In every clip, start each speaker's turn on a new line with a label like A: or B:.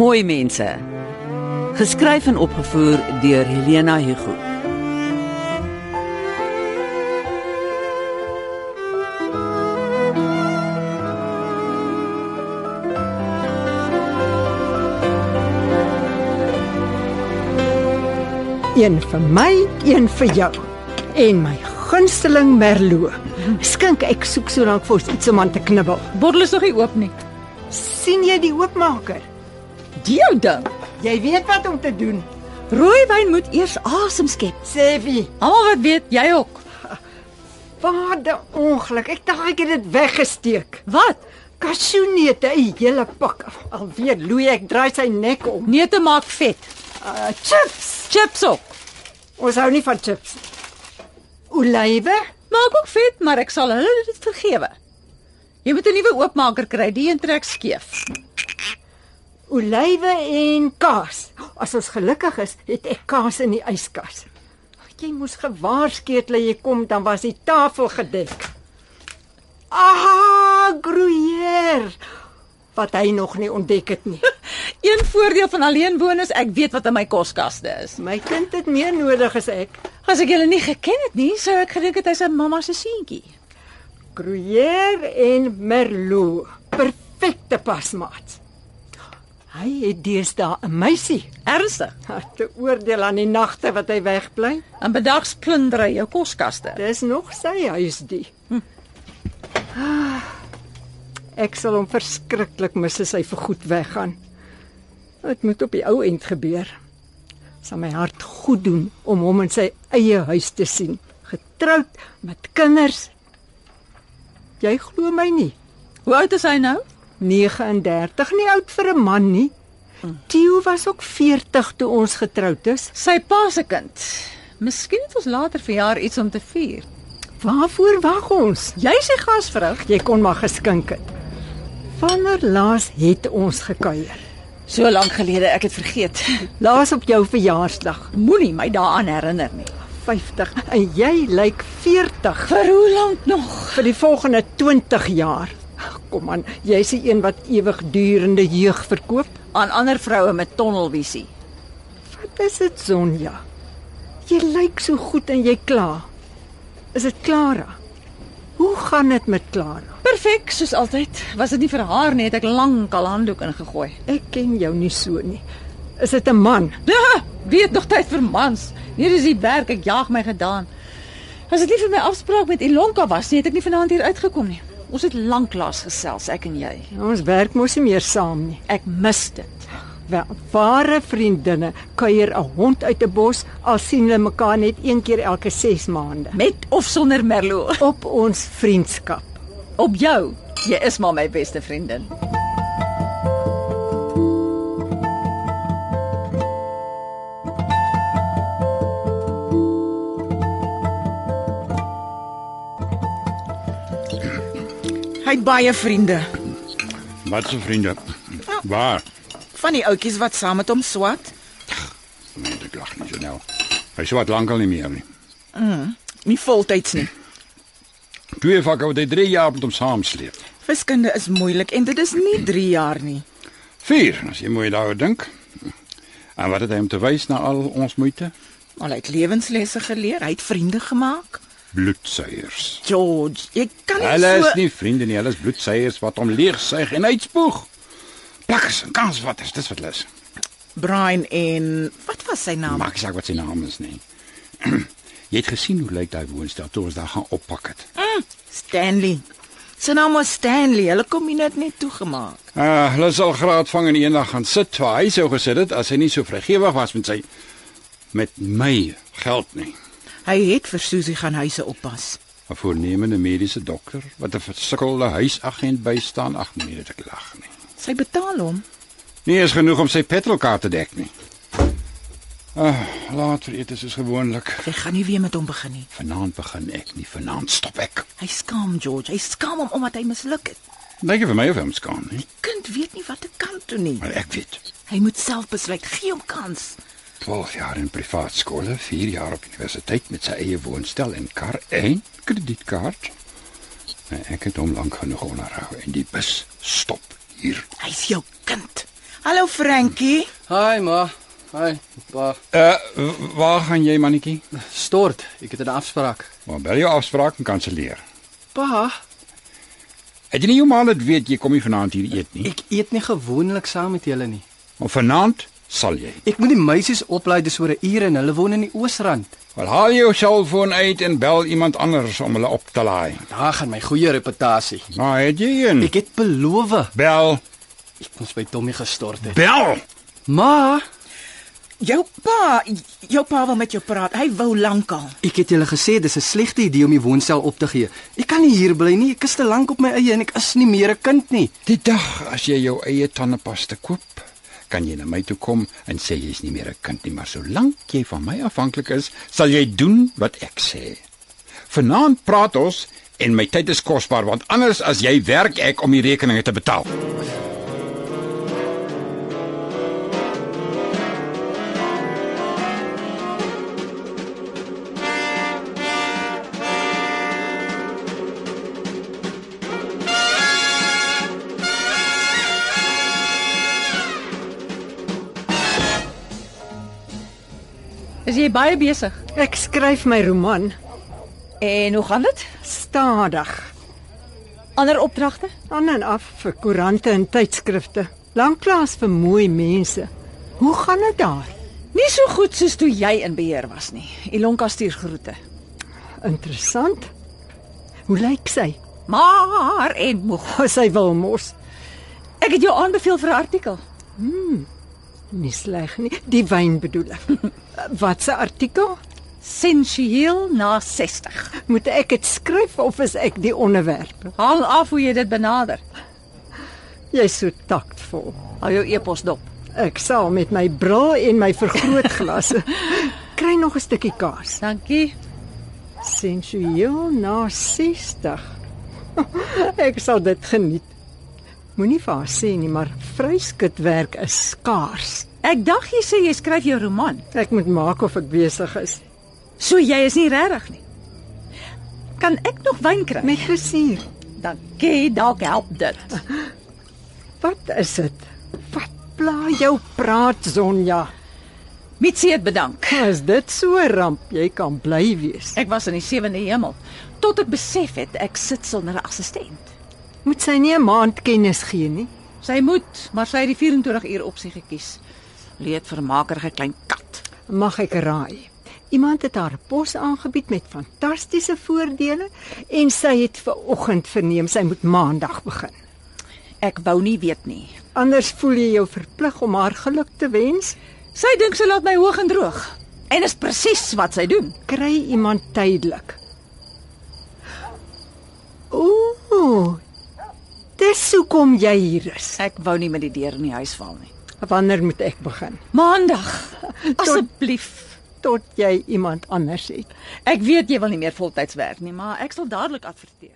A: Mooi mense. Geskryf en opgevoer deur Helena Hugo.
B: Een vir my, een vir jou en my gunsteling merlot. Skink ek soek so lank vir ons iets om aan te knibbel.
C: Bottel is nog nie oop nie.
B: sien jy die oopmaker?
C: Die jou ding.
B: Jy weet wat om te doen.
C: Rooiwyn moet eers asem skep.
B: Sê wie?
C: Almal wat weet, jy ook.
B: Wat 'n ongeluk. Ek dink ek het dit weggesteek.
C: Wat?
B: Kasjoenete, 'n hele pak. Alweer loei ek draai sy nek om.
C: Neute maak vet.
B: Uh, chips.
C: Chips ook.
B: Ons hou nie van chips. nie. Olywe?
C: Maak ook vet, maar ek sal hulle dit vergewe. Jy moet 'n nuwe oopmaker kry. Die een trek skeef.
B: Olywe en kaas. As ons gelukkig is, het ek kaas in die yskas. Jy moes gewaarsku het dat jy kom, dan was die tafel gedek. Ah, gruyère. Wat hy nog nie ontdek het nie.
C: Een voordeel van alleen woon is ek weet wat in my koskaste is.
B: My kind het meer nodig as ek.
C: As ek julle nie geken het nie, sou ek gedink het hy's 'n mamma se seentjie.
B: Gruyère en merlot. Perfekte pasmaat. Hy het deesdae 'n meisie.
C: Ernstig.
B: Hard te oordeel aan die nagte wat hy wegbly.
C: En bedags plunder hy jou koskaste.
B: Dis nog sy huis die. Ah, Ek sal hom verskriklik mis as hy vir goed weggaan. Dit moet op die ou end gebeur. Sal my hart goed doen om hom in sy eie huis te sien, getroud met kinders. Jy glo my nie.
C: Hoe oud is hy nou?
B: 39 nie oud vir 'n man nie. Theo was ook 40 toe ons getroud is.
C: Sy pa se kind. Miskien het ons later verjaar iets om te vier.
B: Waarvoor wag ons?
C: Jy sê gasvrou,
B: Jy kon maar geskink het. Wanneer laas het ons gekuier?
C: so lank gelede ek het vergeet.
B: Laas op jou verjaarsdag,
C: Moenie my daaraan herinner nie.
B: 50, en jy lyk 40
C: Vir hoe lank nog?
B: vir die volgende 20 jaar. Kom aan, jy's die een wat ewigdurende jeug verkoop.
C: Aan ander vroue met tonnelvisie.
B: Wat is dit, Sonja? Jy lyk so goed en jy kla. Is dit Klara? Hoe gaan dit met Klara?
C: Perfek soos altyd. Was dit nie vir haar nie, het ek lank al handdoek ingegooi.
B: Ek ken jou nie so nie. Is dit 'n man?
C: Da, Ja, weet nog tyd vir mans. Nee, dis die werk ek jaag my gedaan. As dit nie vir my afspraak met Ilonka was nie, het ek nie vanaand hier uitgekom nie. Ons het lanklaas gesels, ek en jy.
B: Ons werk mos nie meer saam nie.
C: Ek mis dit.
B: Wel, ware vriendinne kuier 'n hond uit 'n bos al sien hulle mekaar net een keer elke 6 maande.
C: Met of sonder Merlo.
B: Op ons vriendskap.
C: Op jou. Jy is maar my beste vriendin.
D: Hy het baie vriende
E: Wat se vriende? Waar?
D: van die ouetjies wat saam met hom swat.
E: Nee, ek lag nie so nou. Hy swat lankal nie meer nie.
D: Nie voltyds nie.
E: Twee vakke wat hy 3 jaar met hom saam sleep.
D: Wiskunde is moeilik en dit is nie 3 jaar nie.
E: Vier, as jy mooi daaroor dink. En wat het hy om te wys na al ons moeite?
D: Al hy het lewenslesse geleer, hy het vriende gemaak.
E: Bloedsuiers.
D: George, jy kan nie
E: Hulle is
D: so
E: nie vriende nie, hulle is bloedsuiers wat hom leegsuig en uitspoeg. Plakkers en kanswatters, dis wat hulle is.
D: Brian en wat was sy naam?
E: Maak nie saak wat sy naam is nie. jy het gesien hoe lyk daai woonstel toe ons daar gaan oppak het.
D: Stanley. Sy naam was Stanley. Hulle kom nie net net toegemaak.
E: Ah, hulle sal graad vang en eendag gaan sit waar hy sou gesit het as hy nie so vrygewig was met sy met my geld nie.
D: Hy het vir Susie gaan huise oppas.
E: 'n Voornemende mediese dokter wat 'n versukkelde huisagent bystaan. Ag nee, dit ek lag nie.
D: Sy betaal hom.
E: Nie is genoeg om sy petrolkaart te dek nie. Ah, laat vir ete soos gewoonlik.
D: Sy gaan nie weer met hom begin nie.
E: Vanaand begin ek nie, vanaand stop ek.
D: Hy skaam George. Hy skaam hom omdat hy misluk het.
E: Dink jy vir my of hom skaan nie?
D: Kind weet nie wat te kant toe nie.
E: Maar ek weet.
D: Hy moet self besluit. Gee hom kans.
E: 12 jaar in privaat skole, 4 jaar op universiteit met sy eie woonstel en kar en kredietkaart. Nee, En ek het hom lank genoeg onderhou en die bus stop hier.
D: Hy's jou kind. Hallo Frankie.
F: Hi ma. Hi. Pa.
E: Uh waar gaan jy mannetjie?
F: Stort. Ek het 'n afspraak.
E: Maar bel jou afspraak en kanselleer.
F: Pa,
E: Het jy nie jou ma laat weet jy kom nie vanaand hier eet nie?
F: ek eet nie gewoonlik saam met julle nie.
E: Maar vanaand sal jy.
F: Ek moet die meisies oplei dis oor 'n uur en hulle woon in die Oosrand.
E: Wel haal jou selfoon uit en bel iemand anders om hulle op te laai.
F: Daar gaan my goeie reputasie.
E: Maar het jy een?
F: Ek het beloof.
E: Bel.
F: Ek moes by Tommy gestort het.
E: Bel.
F: Ma,
D: Jou pa, jou pa wil met jou praat. Hy wou lankal.
F: ek het julle gesê dis 'n slegte idee om die woonstel op te gee. Ek kan nie hier bly nie. Ek is te lank op my eie en ek is nie meer 'n kind nie.
E: Die dag as jy jou eie tandepasta koop, kan jy na my toe kom en sê jy's nie meer 'n kind nie, maar solank jy van my afhanklik is, sal jy doen wat ek sê. Vanaand praat ons en my tyd is kosbaar want anders as jy werk ek om die rekeninge te betaal.
C: Is jy baie besig?
B: Ek skryf my roman
C: En hoe gaan dit?
B: stadig
C: Ander opdragte?
B: aan en af vir koerante en tydskrifte. Lanklaas vir mooi mense. Hoe gaan dit daar?
C: Nie so goed soos toe jy in beheer was nie. Ilonka stuur groete.
B: Interessant. Hoe lyk sy?
C: Maar en moeg.
B: Oh, sy wil mos
C: Ek het jou aanbeveel vir 'n artikel.
B: nie sleg nie. Die wyn bedoel ek. Wat 'n artikel?
C: Sensueel na 60.
B: Moet ek dit skryf of is ek die onderwerp?
C: Haal af hoe jy dit benader.
B: Jy's so taktvol.
C: Hou jou e-pos dop.
B: Ek sal met my bril en my vergrootglas kry nog 'n stukkie kaas.
C: Dankie.
B: Sensueel na 60. Ek sal dit geniet. Moenie vir haar sê nie, maar vryskutwerk is skaars.
C: Ek dacht jy sê jy skryf jou roman.
B: Ek moet maak of ek besig is.
C: So jy is nie regtig nie. Kan ek nog wyn kry?
B: Met plesier.
C: Dankie, dalk help dit.
B: Wat is dit? Wat pla jou praat Sonja?
C: Mitsie het bedank.
B: Is dit so 'n ramp? Jy kan bly wees.
C: Ek was in die sewende hemel tot ek besef het ek sit sonder 'n assistent.
B: Moet sy nie 'n maand kennis gee nie.
C: Sy moet, maar sy het die 24 uur opsie gekies. Leed vermakerige klein kat.
B: Mag ek raai? Iemand het haar 'n pos aangebied met fantastiese voordele en sy het ver oggend verneem sy moet maandag begin.
C: Ek wou nie weet nie.
B: Anders voel jy jou verplig om haar geluk te wens.
C: Sy dink sy laat my hoog en droog. En is presies wat sy doen.
B: Kry iemand tydelik. Ooh. Dis hoekom jy hier is.
C: Ek wou nie met die deur in die huis val nie.
B: Wanneer moet ek begin?
C: Maandag. Asseblief.
B: Tot jy iemand anders het.
C: Ek weet jy wil nie meer voltyds werk nie, maar ek sal dadelik adverteer.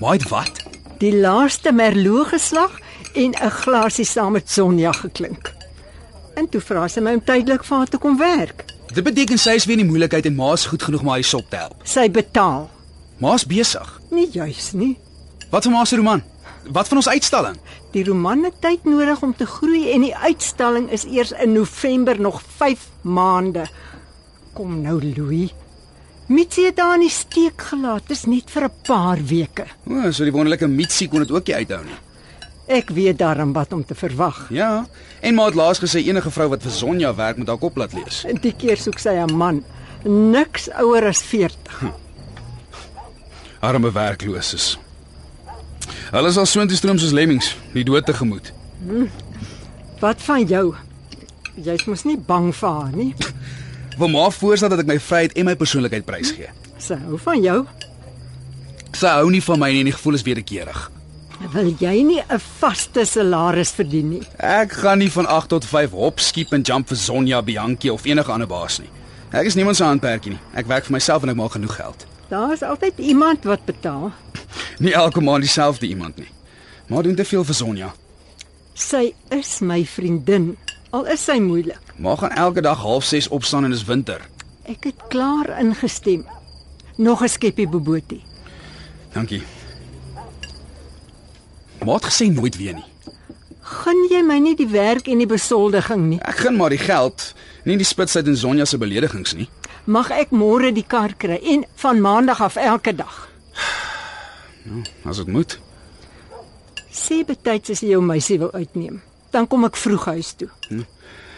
F: Maar wat?
B: Die laaste merlot geslag en 'n glasie saam met Sonja geklink. En toe vra sy my om tydelik vir haar te kom werk.
G: Dit beteken sy is weer in die moeilikheid en ma's goed genoeg om haar hierop te help.
B: Sy betaal.
G: Ma's besig.
B: Nie juis nie.
G: Wat van ma se roman? Wat van ons uitstalling?
B: Die roman het tyd nodig om te groei en die uitstalling is eers in November nog 5 maande. Kom nou Louis. Mitsie het haar in die steek gelaat. Dis net vir 'n paar weke.
G: O, so die wonderlike Mitsie kon dit ook nie uithou nie.
B: Ek weet daarom wat om te verwag.
G: Ja. En ma het laas gesê enige vrou wat vir Sonja werk moet haar kop laat lees.
B: Die keer soek sy 'n man, niks ouer as 40.
G: Arme werklooses. Hulle is al so intoestroom soos lemmings, die dood te gemoed.
B: Wat van jou? Jy's mos nie bang vir haar nie.
G: Wil ma voorstel dat ek my vryheid en my persoonlikheid prysgee.
B: Sy hou van jou.
G: Sy hou nie van my nie en die gevoel is wederkerig.
B: Wil jy nie 'n vaste salaris verdien nie?
G: Ek gaan nie van 8 tot 5 hop, skiep en jump vir Sonja, Bianchi of enige ander baas nie. Ek is niemand se handperdjie nie. Ek werk vir myself en ek maak genoeg geld.
B: Daar is altyd iemand wat betaal.
G: Nie elke maand dieselfde iemand nie. Maar doen te veel vir Sonja.
B: Sy is my vriendin, al is sy moeilik.
G: Maar gaan elke dag half 6 opstaan en dis winter.
B: Ek het klaar ingestem. Nog 'n skeppie bobotie.
G: Dankie. Maat gesê nooit weer nie.
B: Gun jy my nie die werk en die besoldiging nie.
E: Ek gaan maar die geld, nie die spitsheid en Sonja se beledigings nie.
B: Mag ek môre die kar kry en van maandag af elke dag.
E: As dit moet.
B: Sê betyds as jy jou meisie wil uitneem. Dan kom ek vroeg huis toe.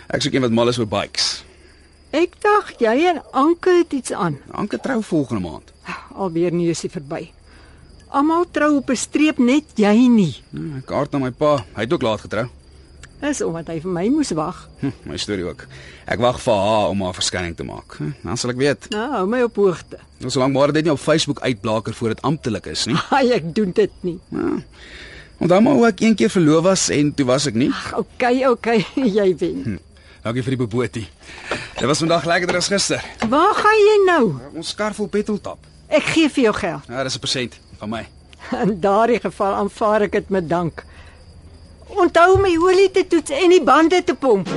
E: Ek soek een wat mal is oor bikes.
B: Ek dink jy en Anke het iets aan.
E: Anke trou volgende maand.
B: Alweer nie is dit verby. Almal trou op 'n streep net jy nie.
E: Nou, Ek kaart na my pa. Hy het ook laat getrou.
B: Dis omdat hy vir my moes wag.
E: Hm, my storie ook. Ek wag vir haar om haar verskyning te maak. Hm, Dan sal ek weet.
B: Nou, hou my op hoogte.
E: Ons solank maar dit nie op Facebook uitblaker voor dit amptelik is nie.
B: Ai, ek doen dit nie.
E: Onthou maar hoe ek een keer verloof was en toe was ek nie.
B: OK, OK, jy wen.
E: Dankie vir die beboetie. Dit was vandag lekkerder as gister.
B: Waar gaan jy nou?
E: Ons kar vol petroltap.
B: Ek gee vir jou geld.
E: Ja, dis 'n persent van my.
B: In daardie geval aanvaar ek dit met dank. Onthou om my olie te toets en die bande te pomp.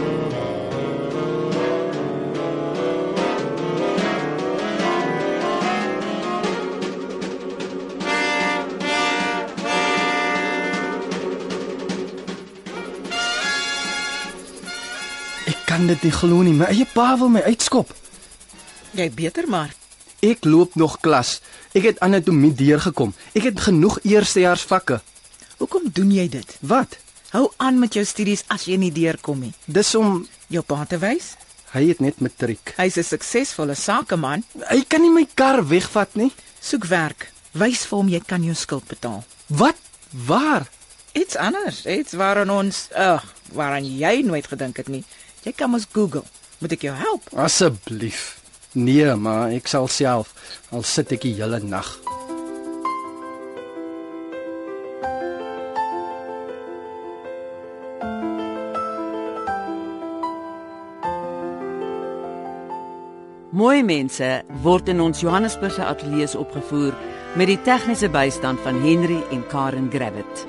F: Ek kan dit nie glo nie. My eie pa wil my uitskop.
D: Jy beter maar.
F: Ek loop nog klas. Ek het anatomie deurgekom. Ek het genoeg eerstejaars vakke.
D: Hoekom doen jy dit?
F: Wat?
D: Hou aan met jou studies as jy nie deurkom nie.
F: Dis om
D: Jou pa te wys.
F: hy het net matriek.
D: Hy's 'n suksesvolle sakeman.
F: Hy kan nie my kar wegvat nie.
D: Soek werk. Wys vir hom jy kan jou skuld betaal.
F: Wat? Waar?
D: Iets anders, iets waaraan ons, ag, waaraan jy nooit gedink het nie. Jy kan mos Google. Moet ek jou help?
F: Asseblief. Nee, maar ek sal self al sit ek die hele nag.
H: Mooi mense word in ons Johannesburgse ateljee opgevoer met die tegniese bystand van Henry en Karen Gravett.